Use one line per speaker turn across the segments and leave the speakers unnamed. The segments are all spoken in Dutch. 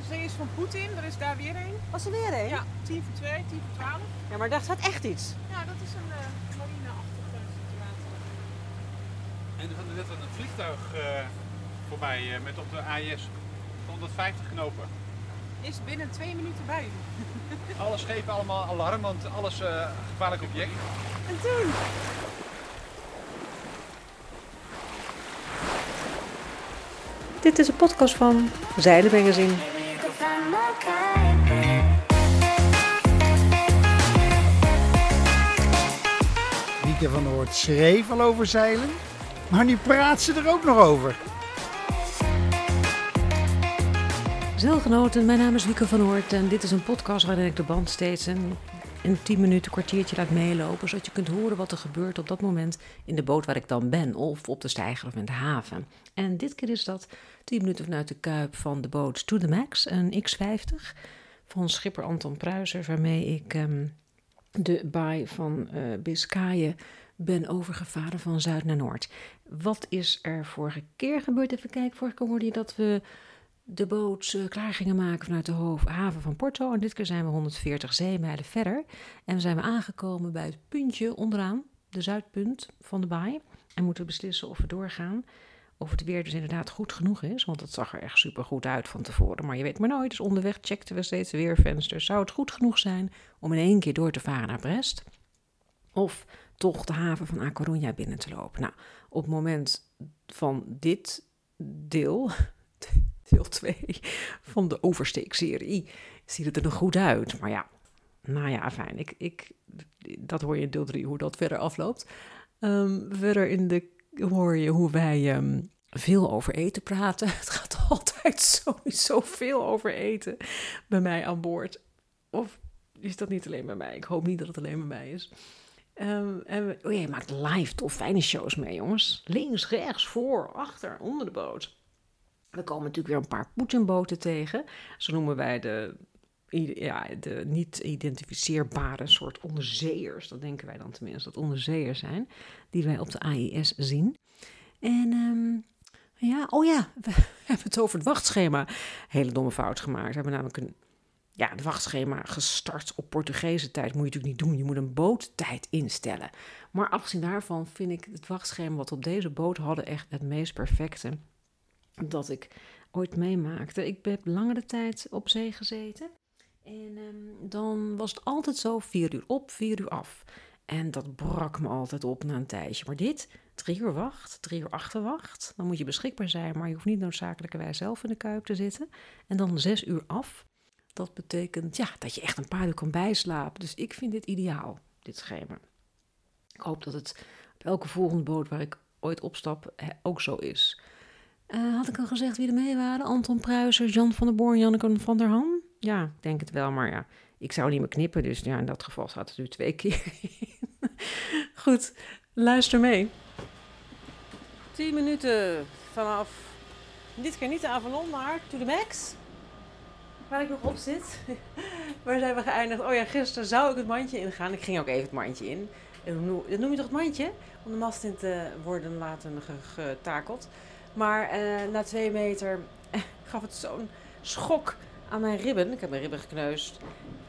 café is eh, van Poetin, er is daar weer een.
Was er weer een?
Ja, 10 voor 2, 10 voor 12.
Ja, maar daar staat echt iets.
Ja, dat is een eh marineachtige situatie.
En er kwam net een vliegtuig eh, voorbij eh, met op de AIS 150 knopen.
Is binnen twee minuten bij u.
Alle schepen allemaal alarm, want alles eh, gevaarlijk object.
En toen?
Dit is een podcast van Zeilenmagazine.
Maybe you could find my kind, babe.
Wieke van der Hoort schreef al over zeilen, maar nu praat ze er ook nog over.
Zeilgenoten, mijn naam is Wieke van Hoort en dit is een podcast waarin ik de band steeds een, een 10 minuten kwartiertje laat meelopen, zodat je kunt horen wat er gebeurt op dat moment in de boot waar ik dan ben, of op de steiger of in de haven. En dit keer is dat 10 minuten vanuit de kuip van de boot To The Max, een X50 van schipper Anton Pruiser, waarmee ik ehm, de baai van eh Biscayen ben overgevaren van zuid naar noord. Wat is er vorige keer gebeurd? Even kijken, vorige keer hoorde je dat we de boot eh, klaar gingen maken vanuit de hoofd- haven van Porto. En dit keer zijn we 140 zeemijlen verder. En we zijn we aangekomen bij het puntje onderaan, de zuidpunt van de baai. En moeten we beslissen of we doorgaan. Of het weer dus inderdaad goed genoeg is. Want het zag er echt super goed uit van tevoren. Maar je weet maar nooit. Dus onderweg checkten we steeds de weervensters. Zou het goed genoeg zijn om in één keer door te varen naar Brest? Of toch de haven van A Coruña binnen te lopen? Nou, op het moment van dit deel deel 2 van de Oversteekserie. Ziet het er nog goed uit? Maar ja, nou ja, fijn. Ik, ik, dat hoor je in deel 3 hoe dat verder afloopt. Ehm, verder in de, hoor je hoe wij ehm, veel over eten praten. Het gaat altijd sowieso veel over eten bij mij aan boord. Of is dat niet alleen bij mij? Ik hoop niet dat het alleen bij mij is. Ehm, en we, oh ja, je maakt live tof fijne shows mee, jongens. Links, rechts, voor, achter, onder de boot. We komen natuurlijk weer een paar Poetinboten tegen. Zo noemen wij de, i- ja, de niet identificeerbare soort onderzeeërs. Dat denken wij dan tenminste, dat onderzeeërs zijn. Die wij op de AIS zien. En ehm, ja, oh ja, we hebben het over het wachtschema. Hele domme fout gemaakt. We hebben namelijk een ja, het wachtschema gestart op Portugese tijd. Moet je natuurlijk niet doen. Je moet een boottijd instellen. Maar afgezien daarvan vind ik het wachtschema wat we op deze boot hadden echt het meest perfecte dat ik ooit meemaakte. Ik heb langere tijd op zee gezeten. En ehm, dan was het altijd zo vier uur op, vier uur af. En dat brak me altijd op na een tijdje. Maar dit, drie uur wacht, drie uur achterwacht. Dan moet je beschikbaar zijn, maar je hoeft niet noodzakelijkerwijs zelf in de kuip te zitten. En dan zes uur af. Dat betekent ja, dat je echt een paar uur kan bijslapen. Dus ik vind dit ideaal, dit schema. Ik hoop dat het op elke volgende boot waar ik ooit opstap eh, ook zo is. Eh, had ik al gezegd wie er mee waren? Anton Pruiser, Jan van der Born, Janneke van der Ham? Ja, ik denk het wel, maar ja, ik zou niet meer knippen. Dus ja, in dat geval staat het nu twee keer in. Goed, luister mee.
10 minuten vanaf, dit keer niet de Avalon, maar To The Max. Waar ik nog op zit. Waar zijn we geëindigd? Oh ja, gisteren zou ik het mandje ingaan. Ik ging ook even het mandje in. En hoe noem- Dat noem je toch het mandje? Om de mast in te worden laten ge- getakeld. Maar eh, na twee meter gaf het zo'n schok aan mijn ribben. Ik heb mijn ribben gekneusd.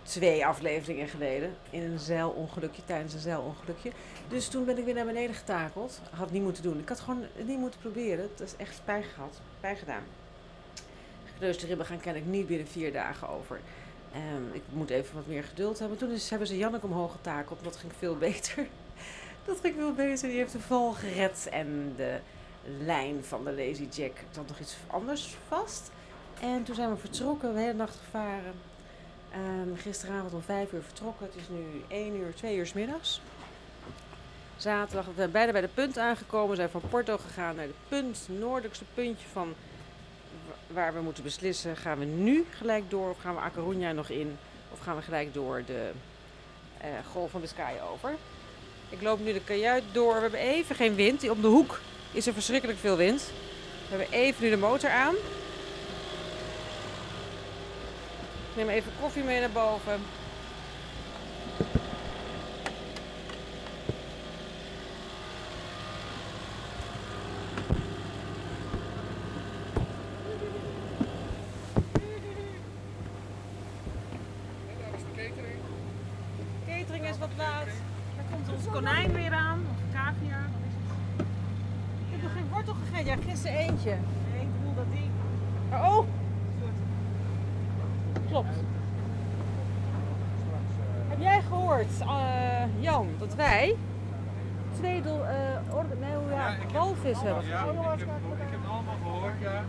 Twee afleveringen geleden. In een zeilongelukje, tijdens een zeilongelukje. Dus toen ben ik weer naar beneden getakeld. Had niet moeten doen. Ik had gewoon het niet moeten proberen. Het is echt pijn gehad. Pijn gedaan. Gekneusde ribben gaan kennelijk niet binnen vier dagen over. Ehm, ik moet even wat meer geduld hebben. Toen is, hebben ze Janneke omhoog getakeld. Dat ging veel beter. Dat ging veel beter. Die heeft de val gered. En de lijn van de Lazy Jack zat nog iets anders vast. En toen zijn we vertrokken. We hebben de hele nacht gevaren. Ehm, gisteravond om vijf uur vertrokken. Het is nu één uur, twee uur 's middags. Zaterdag, we zijn bijna bij de punt aangekomen. We zijn van Porto gegaan naar de punt, het noordelijkste puntje van wa- waar we moeten beslissen. Gaan we nu gelijk door of gaan we A Coruña nog in? Of gaan we gelijk door de eh, Golf van Biscayen over? Ik loop nu de kajuit door. We hebben even geen wind. Om de hoek is er verschrikkelijk veel wind. We hebben even nu de motor aan. Ik neem even koffie mee naar boven.
is konijn weer aan, of cavia, wat is het?
Ik heb nog geen wortel gegeten. Ja, gisteren eentje.
Nee, ik bedoel dat ding.
Maar oh,
Soort
klopt. Heb jij gehoord, eh, Jan, dat wij twee dol, eh, orde- nee, hoe ja,
Ja, ik heb-
walvis hebben?
Ja, ik heb, ik heb het allemaal gehoord, ja.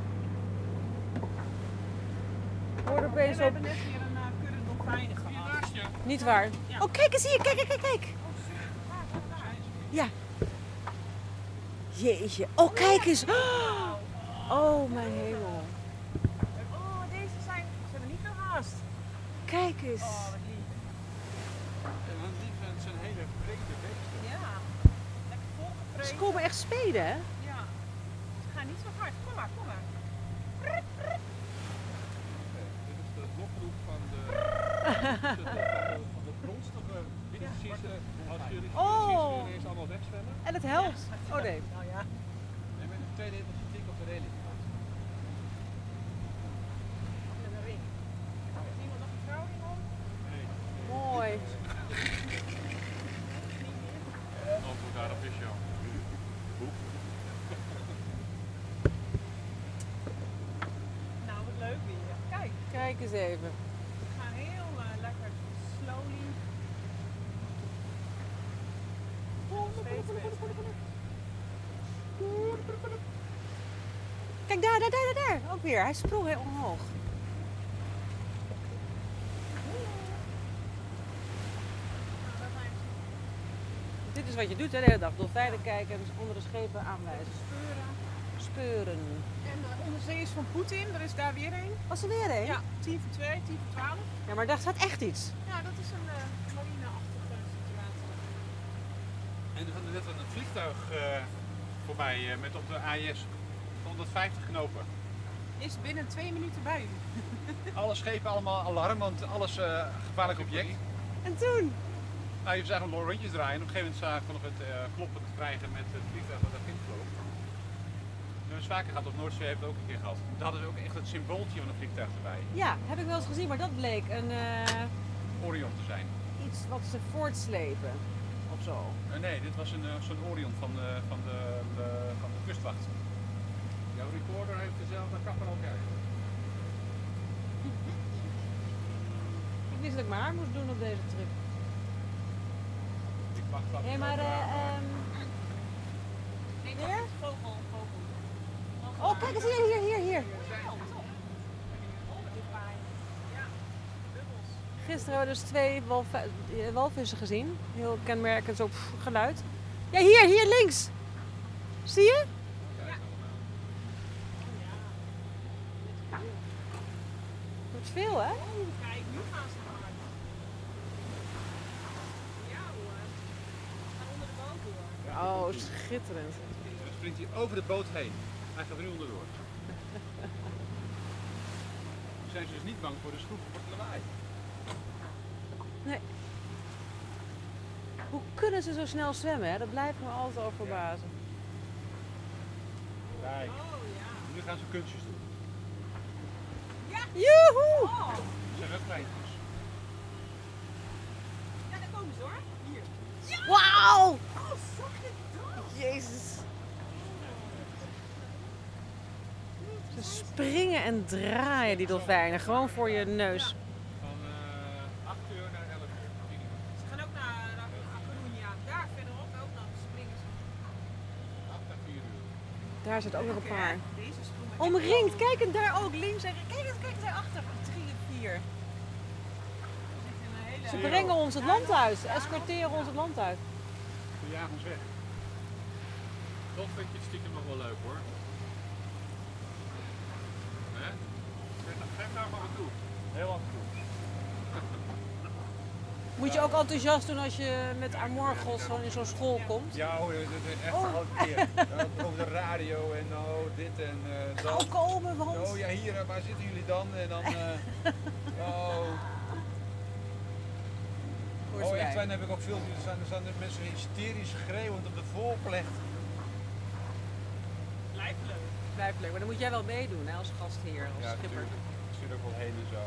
Ik hoorde
En
opeens
we
op.
hebben net weer een uh, kudde dolfijnen gehad.
Naast je.
Niet waar.
Ja.
Oh, kijk eens hier. Kijk, kijk, kijk, kijk. Jeetje. Oh, kijk eens. Oh, mijn hemel.
Oh, deze zijn, ze hebben niet gehaast.
Kijk
Oh,
eens.
En dan die vindt zijn hele brede beesten.
Ja. Lekker
Ze
volgevreten.
komen echt spelen, hè?
Ja. Ze gaan niet zo hard. Kom maar, kom maar.
Dit is de lokroep van de, van de bronstige windvissen. Als jullie
Oh.
oh. eerst allemaal wegzwemmen.
En het helpt. Oh nee.
Nou ja.
En met de tweede hit dik op de reling.
Met een ring. Is iemand nog een verhouding om?
Mooi.
Antwoord daarop is jou.
Nou, wat leuk weer. Kijk,
Kijk eens even.
we gaan heel eh, lekker slowly. Steeds beter.
Kijk daar, daar, daar, daar, daar. Ook weer. Hij sprong heel omhoog.
Nou, daar zijn ze.
Dit is wat je doet hè, de hele dag. Dolfijnen kijken en dus onder de schepen aanwijzen.
Speuren.
Speuren.
En de onderzeeërs van Poetin, er is daar weer een.
Was er weer een?
Ja, 10 voor 2, 10 voor 12.
Ja, maar daar staat echt iets.
Ja, dat is een eh marineachtige situatie.
En er gaat net een vliegtuig eh, voorbij eh, met op de AIS 150 knopen.
Is binnen 2 minuten bij u.
Alle schepen allemaal alarm, want alles eh, gevaarlijk object.
En toen?
Nou, je zag hem door rondjes draaien. Op een gegeven moment zagen we nog het eh, kloppen te krijgen met het vliegtuig dat erin vloog. Nu eens vaker gaat op Noordzee hebben we het ook een keer gehad. Daar hadden we ook echt het symbooltje van een vliegtuig erbij.
Ja, heb ik wel eens gezien, maar dat bleek een, eh,
Orion te zijn.
iets wat ze voortslepen. Of zo.
Eh, nee, dit was een, eh, zo'n Orion van de, van, de, de- van de kustwacht. Jouw recorder heeft dezelfde kapper ook eigenlijk.
Ik wist dat ik mijn haar moest doen op deze trip.
Ik mag dat
Hé,
niet
maar...
ook,
eh,
eh,
ehm,
Nee,
dat Weer? is
vogel, vogel.
Oh, kijk eens hier, hier, hier, hier. Gisteren hebben we dus twee walvi- eh, walvissen gezien. Heel kenmerkend, zo pff, geluid. Ja, hier, hier links. Zie je? Dat is veel, hè?
Kijk, nu gaan ze hard. Ja hoor. Gaan onder de boot door.
Oh, schitterend.
Dan springt hij over de boot heen. Hij gaat er nu onderdoor. Zijn ze dus niet bang voor de schroef of voor het lawaai?
Hoe kunnen ze zo snel zwemmen, hè? Dat blijft me altijd al verbazen.
Kijk,
Oh,
nu gaan ze kunstjes doen.
Joehoe!
Oh.
Ze zijn ook kleintjes.
Ja, daar komen ze hoor. Hier. Oh,
Wauw! Jezus. Ze springen en draaien, die dolfijnen. Gewoon voor je neus.
Van eh 8 uur naar 11 uur. minimum.
Ze gaan ook naar naar A Coruña. Daar verderop ook nog springen ze.
8 naar 4 uur.
Daar zit ook nog een paar.
Deze sprongen.
Omringd, kijk en daar ook links. En kijk eens, kijk daarachter. Drie en vier. Ze brengen ons het land uit. Ze Escorteren ons het land uit.
We jagen ons weg. Toch vind je het stiekem nog wel leuk hoor. Hè? Geef nou- Geef daar maar wat toe. Heel af en toe.
Moet je ook enthousiast doen als je met Amorgos gewoon in zo'n school komt?
Ja hoor, dat is echt een grote keer. Ja, Over de radio en oh, dit en eh, dat.
Oh, komen, want...
Oh ja, hier, eh, waar zitten jullie dan? En dan. eh, oh,
Hoort
oh
erbij.
echt, dan heb ik ook veel. Er zijn, er zijn
dus
mensen hysterisch schreeuwend op de voorplecht.
Blijft leuk.
Blijft leuk, maar dan moet jij wel meedoen hè, als gastheer, als schipper.
natuurlijk. Ik zit ook wel heen en zo.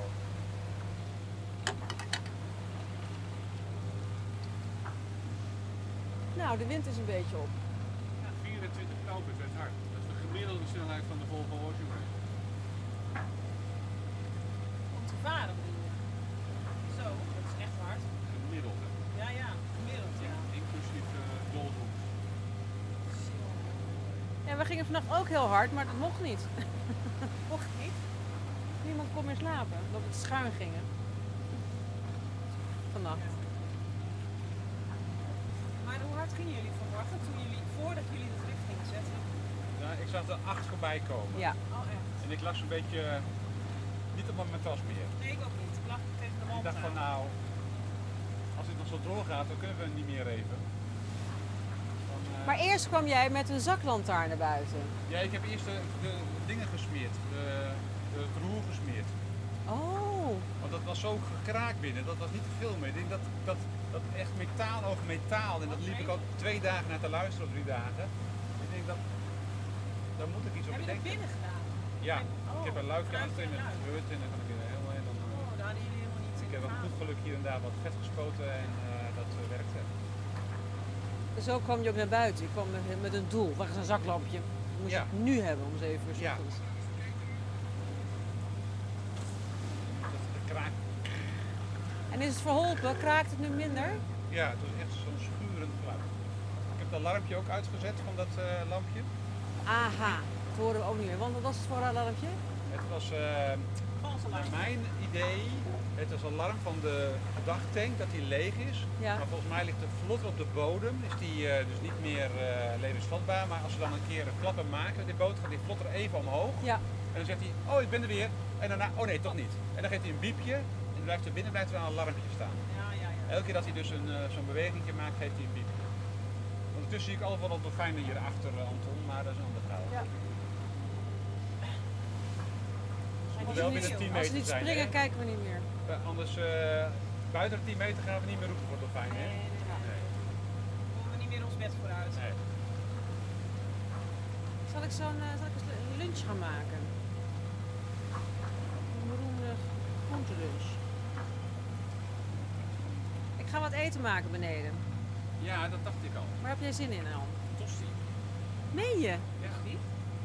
Nou, de wind is een beetje op.
Ja, 24 knopen, dat is hard. Dat is de gemiddelde snelheid van de Volvo Ocean Race.
Om te varen bedoel je? Zo, dat is echt hard.
Gemiddelde.
Ja, ja, gemiddeld ja.
Inclusief uh, dolhoeks.
En we gingen vannacht ook heel hard, maar dat mocht niet. mocht niet. Niemand kon meer slapen, omdat we te schuin gingen. Vannacht.
Maar hoe hard gingen jullie vanmorgen toen jullie, voordat jullie het licht gingen zetten?
Ja, ik zag er acht voorbij komen.
Ja.
Oh echt?
En ik lag zo'n beetje eh, niet op mijn tas meer.
Nee, ik ook niet. Ik lag tegen de
Ik
wand
dacht van
aan.
nou, als dit nog zo doorgaat, dan kunnen we niet meer even. Dan, eh,
Maar eerst kwam jij met een zaklantaarn naar buiten.
Ja, ik heb eerst de, de dingen gesmeerd. De, de, het roer gesmeerd.
Oh,
Want dat was zo gekraakt binnen, dat was niet te veel meer. Ik denk dat, dat, dat echt metaal over metaal, en dat liep ik al twee dagen naar te luisteren, of drie dagen. Ik denk dat, daar moet ik iets op
Heb je dat
bedenken.
binnen gedaan?
Ja,
Oh,
ik heb een luikkaart in
luik en
het gebeurd en dan kan ik er helemaal in. Dan, eh,
Oh, daar hadden jullie helemaal niet in
Ik heb een goed
gedaan.
geluk hier en daar wat vet gespoten en eh, dat eh, werkte.
zo kwam je ook naar buiten. Je kwam met, met een doel. Waar is een zaklampje? Dat moest
Ja.
je nu hebben om 7 uur 's
Ja.
ochtends.
Dat dat kraakt.
En is het verholpen? Kraakt het nu minder?
Ja, het was echt zo'n schurend geluid. Ik heb het alarmpje ook uitgezet van dat eh, lampje.
Aha, dat horen we ook niet meer. Want wat was het voor een alarmpje?
Het was eh, naar mijn idee, het is alarm van de dagtank dat die leeg is.
Ja.
Maar volgens mij ligt de vlot op de bodem, is die eh, dus niet meer eh, levensvatbaar. Maar als we dan een keer een klapper maken met die boot, gaat die vlot er even omhoog.
Ja.
En dan zegt hij, oh ik ben er weer. En daarna, oh nee toch niet. En dan geeft hij een biepje en dan blijft er binnen blijft er een alarmpje staan.
Ja, ja, ja.
Elke keer dat hij dus een, eh, zo'n bewegingje maakt, geeft hij een biep. Ondertussen zie ik al wel wat dolfijnen hierachter, eh, Anton, maar dat is een ander verhaal.
Ja.
Ze
die
moeten wel
is
binnen
nieuw.
10
Als ze
meter
niet
zijn.
springen,
hè?
kijken we niet meer.
Eh, Anders eh, buiten de 10 meter gaan we niet meer roepen voor dolfijnen.
Nee,
Hè?
nee, nee. We komen niet meer ons bed vooruit.
Nee.
Zal ik zo'n eh, zal ik eens een lunch gaan maken? Een beroemde groentelunch. Ik ga wat eten maken beneden.
Ja, dat dacht ik al.
Waar heb jij zin in, Al?
Tosti.
Meen je?
Ja,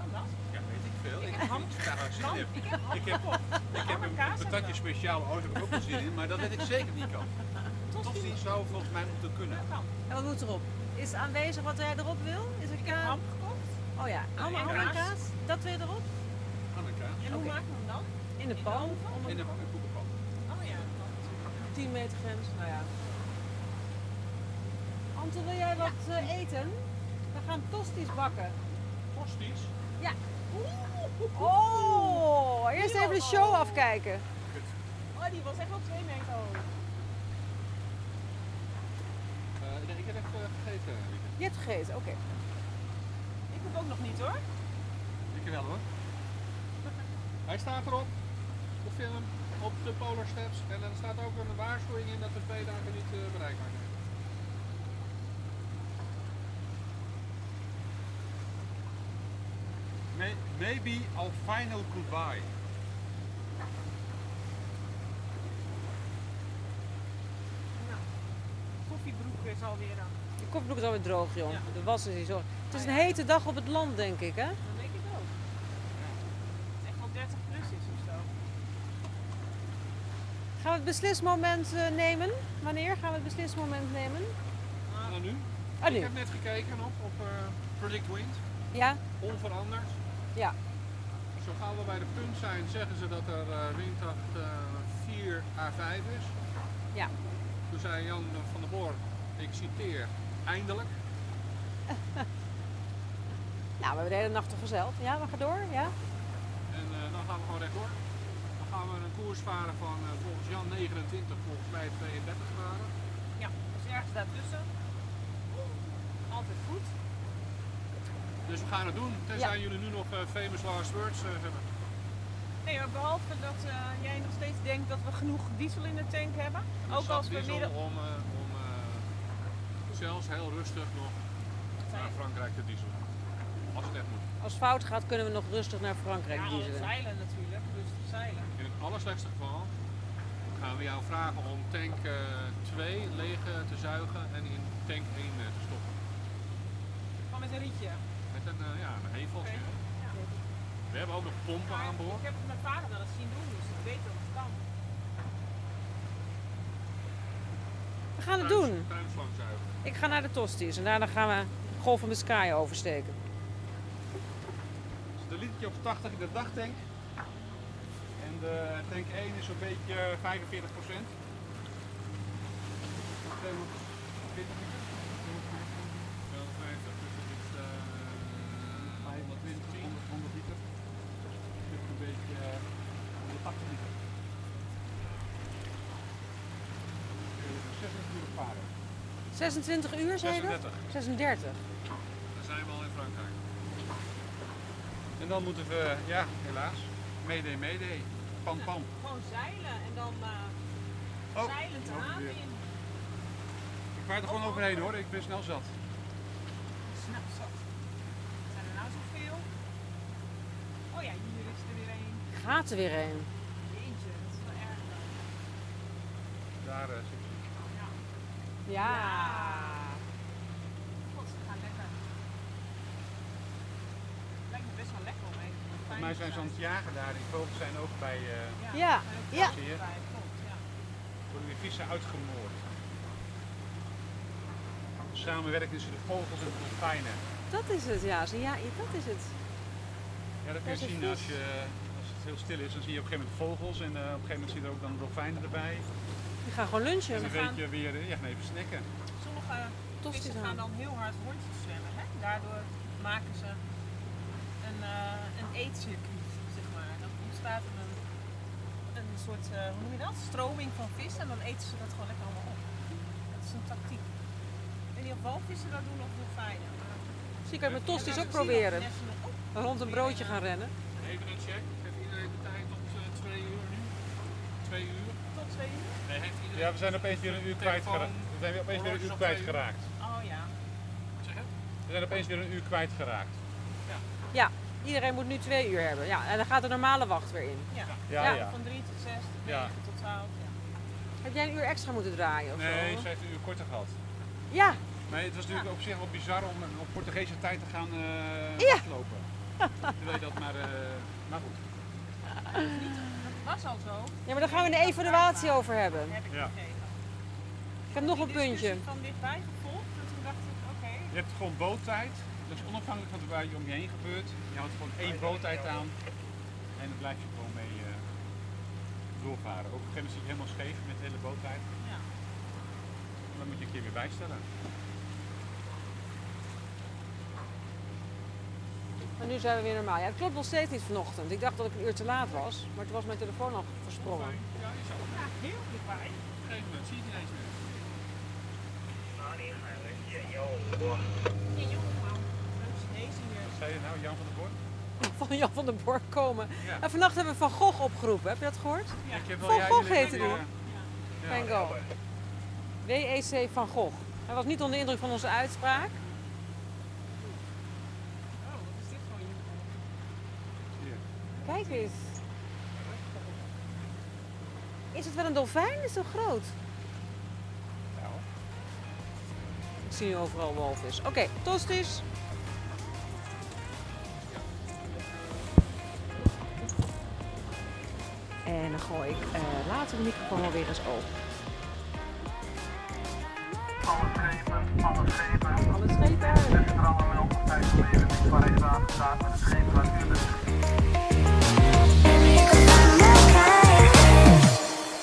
Kan dat?
ja, weet ik veel. Ik heb
ham-
daar wel zin
Kan?
in.
Ik heb
Ik heb, ik heb een
kaas en
patatje
zo.
speciaal, oh, daar heb ik ook wel zin in, maar dat weet ik zeker niet kan. Tosti zou volgens mij moeten kunnen.
En wat moet erop? Is het aanwezig wat jij erop wil? Is er kaas?
ham gekocht.
Oh ja, ham,
en
ham en
kaas.
kaas. Dat wil je erop?
Anneka,
En hoe
Oké.
maken we hem dan?
In de
de
pan.
oven?
Om een
in een in een koekenpan.
Oh ja, dat
10 meter grens. Nou ja. Anton, wil jij wat eh, eten? We gaan tosties bakken.
Tosti's?
Oh, eerst even de show afkijken.
Oh, die was echt wel 2 meter hoog.
Eh, nee, ik heb echt eh, gegeten. Lieke.
Je hebt gegeten, oké.
Ik hoef ook nog niet hoor.
Dankjewel hoor. Hij staat erop, de film, op de Polar Steps. En er staat ook een waarschuwing in dat we twee dagen niet eh, bereikbaar zijn. May- Maybe our final goodbye.
Koffiebroek is alweer aan.
De kopbroek is alweer droog, joh.
Ja.
De was is niet zo. Het is
Ah,
een
ja.
hete dag op het land, denk ik, hè?
Dat denk ik ook. Dat het echt wel 30 plus is of zo.
Gaan we het beslismoment eh, nemen? Wanneer gaan we het beslismoment nemen?
En nu?
Ah,
Ik
nu.
heb net gekeken op, op eh, Predict Wind,
Ja?
onveranderd.
Ja.
Zo gauw we bij de punt zijn, zeggen ze dat er eh, windkracht eh, 4 à 5 is.
Ja.
Toen zei Jan van der Boor, ik citeer, eindelijk.
Nou, we hebben de hele nacht toch gezellig. Ja, we gaan door, ja?
En eh, dan gaan we gewoon rechtdoor. Dan gaan we een koers varen van eh, volgens Jan 29, volgens mij 32 graden.
Ja, dus ergens daartussen. Altijd goed.
Dus we gaan het doen, tenzij jullie nu nog eh, famous last words eh, hebben.
Nee, maar behalve dat eh, jij nog steeds denkt dat we genoeg diesel in de tank hebben.
Er
Ook
zat
als we
diesel
midden...
Dus om, eh, om eh, zelfs heel rustig nog naar Frankrijk te dieselen. Als het echt moet.
Als het fout gaat, kunnen we nog rustig naar Frankrijk
Ja,
dieselen.
zeilen natuurlijk. dus Rustig zeilen.
In het allerslechtste geval gaan we jou vragen om tank eh, 2 leeg eh, te zuigen en in tank 1 eh, te stoppen.
een rietje.
Met een, eh, ja, een heveltje.
Ja.
We hebben ook nog pompen aan boord.
Ik heb het mijn vader wel eens zien doen, dus ik weet dat het kan.
We gaan het doen.
Tuin- tuinslang zuigen.
Ik ga naar de Tosties en daarna gaan we Golf van Biscayen oversteken.
Dus de literje op 80 in de dagtank. En de tank 1 is zo'n beetje eh, 45 procent. 240 liter. 250 dus dat is eh, 120, 100, 100 liter. Dus een beetje eh, 180 liter. Eh, 26 uur varen.
26 uur, zei je dat?
36.
36.
Dan zijn we al in Frankrijk. En dan moeten we, ja, helaas, mede, mede, pam, pam.
Gewoon zeilen en dan eh
Oh,
zeilend de
ook
haven
weer.
in.
ik vaar er
Oh,
gewoon overheen hoor, ik ben snel zat.
Snap Nou, zo. Zijn er nou zoveel? Oh ja, hier is er weer een.
Gaat er weer een.
Jeetje, dat is wel erg.
Daar eh, zit ze.
Ja.
God, ze gaan lekker. Lijkt me best wel lekker om even.
Volgens mij zijn ze aan het jagen daar, die vogels zijn ook bij, eh
Ja, ja.
Zie je?
Bij, klopt, ja.
worden die vissen uitgemoord. Samenwerking tussen de vogels en de dolfijnen.
Dat is het, ja. Zo, Ja, dat is het.
Ja, dat kun je
Dat is
zien
een
als,
vis.
je, eh, als het heel stil is, dan zie je op een gegeven moment vogels en eh, op een gegeven moment zie je er ook dan dolfijnen erbij.
We gaan gewoon lunchen.
En
We
dan
gaan
weet je weer, eh, ja, even snacken.
Sommige
Tosties
vissen
aan.
gaan dan heel hard rondjes zwemmen. Hè? Daardoor maken ze een, eh een eetcircuit, zeg maar. Dan ontstaat er een, een soort, eh, hoe noem je dat? Stroming van vissen en dan eten ze dat gewoon lekker allemaal op. Dat is een tactiek. Ik weet niet of walvissen dat doen of dolfijnen. maar-
Zie ik uit mijn tosties
En
ook
dan zie je dat
proberen.
nesten nog op.
Rond een broodje gaan rennen.
Even een check. Heeft iedereen de tijd tot eh, twee uur nu? Twee uur?
Tot twee uur.
Nee, heeft iedereen...
Ja, we zijn opeens weer een uur kwijtgeraakt. We zijn weer opeens weer een uur kwijtgeraakt.
Oh ja.
Zeg het?
We zijn opeens weer een uur kwijtgeraakt.
Ja, iedereen moet nu twee uur hebben. Ja, en dan gaat de normale wacht weer in.
ja.
Ja,
Ja,
ja.
Van drie tot zes, tot
Ja.
negen tot twaalf. Ja.
Heb jij een uur extra moeten draaien of
Nee,
zo?
ze heeft een uur korter gehad.
Ja,
Nee, het was natuurlijk op zich wel bizar om eh, op Portugese tijd te gaan eh
Ja.
lopen. Terwijl je dat maar... eh, maar goed.
Dat was al zo.
ja, maar daar gaan we een evaluatie over hebben.
Heb ik
Ja.
gegeven.
Ik heb nog een
Die
puntje.
discussie van dichtbij gevolgd. En toen dacht ik, oké,
Je hebt gewoon boottijd. Dat is onafhankelijk van waar je om je heen gebeurt. Je houdt gewoon één boottijd aan. En dan blijf je gewoon mee eh, doorvaren. Ook op een gegeven moment zit je helemaal scheef met de hele boottijd.
ja.
En Dan moet je een keer weer bijstellen.
Maar nu zijn we weer normaal. Ja, het klopt nog steeds niet vanochtend. Ik dacht dat ik een uur te laat was, maar toen was mijn telefoon al versprongen.
Ja, je zou
ja, heel dichtbij.
op een gegeven moment zie je het ineens weer.
Ja, jongen, man. Een Chinees hier.
Wat zei je nou, Jan van der Boort?
Van Jan van den Borg komen.
Ja.
En vannacht hebben we Van Gogh opgeroepen. Heb je dat gehoord?
Ik heb
Van
ja,
Gogh
jullie
heette
hebben,
die.
eh, Ja.
Van Gogh. W.E.C. Van Gogh. Hij was niet onder de indruk van onze uitspraak.
Oh, wat is dit voor je?
Kijk eens. Is het wel een dolfijn? Is het zo groot? Ik zie nu overal walvis. Oké, tosties. En dan gooi ik eh, later de microfoon alweer eens open.
Alle schepen, alle schepen.
Alle schepen uit.
De stralen melk op tijd geleden. Die waar het water staat met de schepen natuurlijk.
Baby, 'cause I'm okay, babe.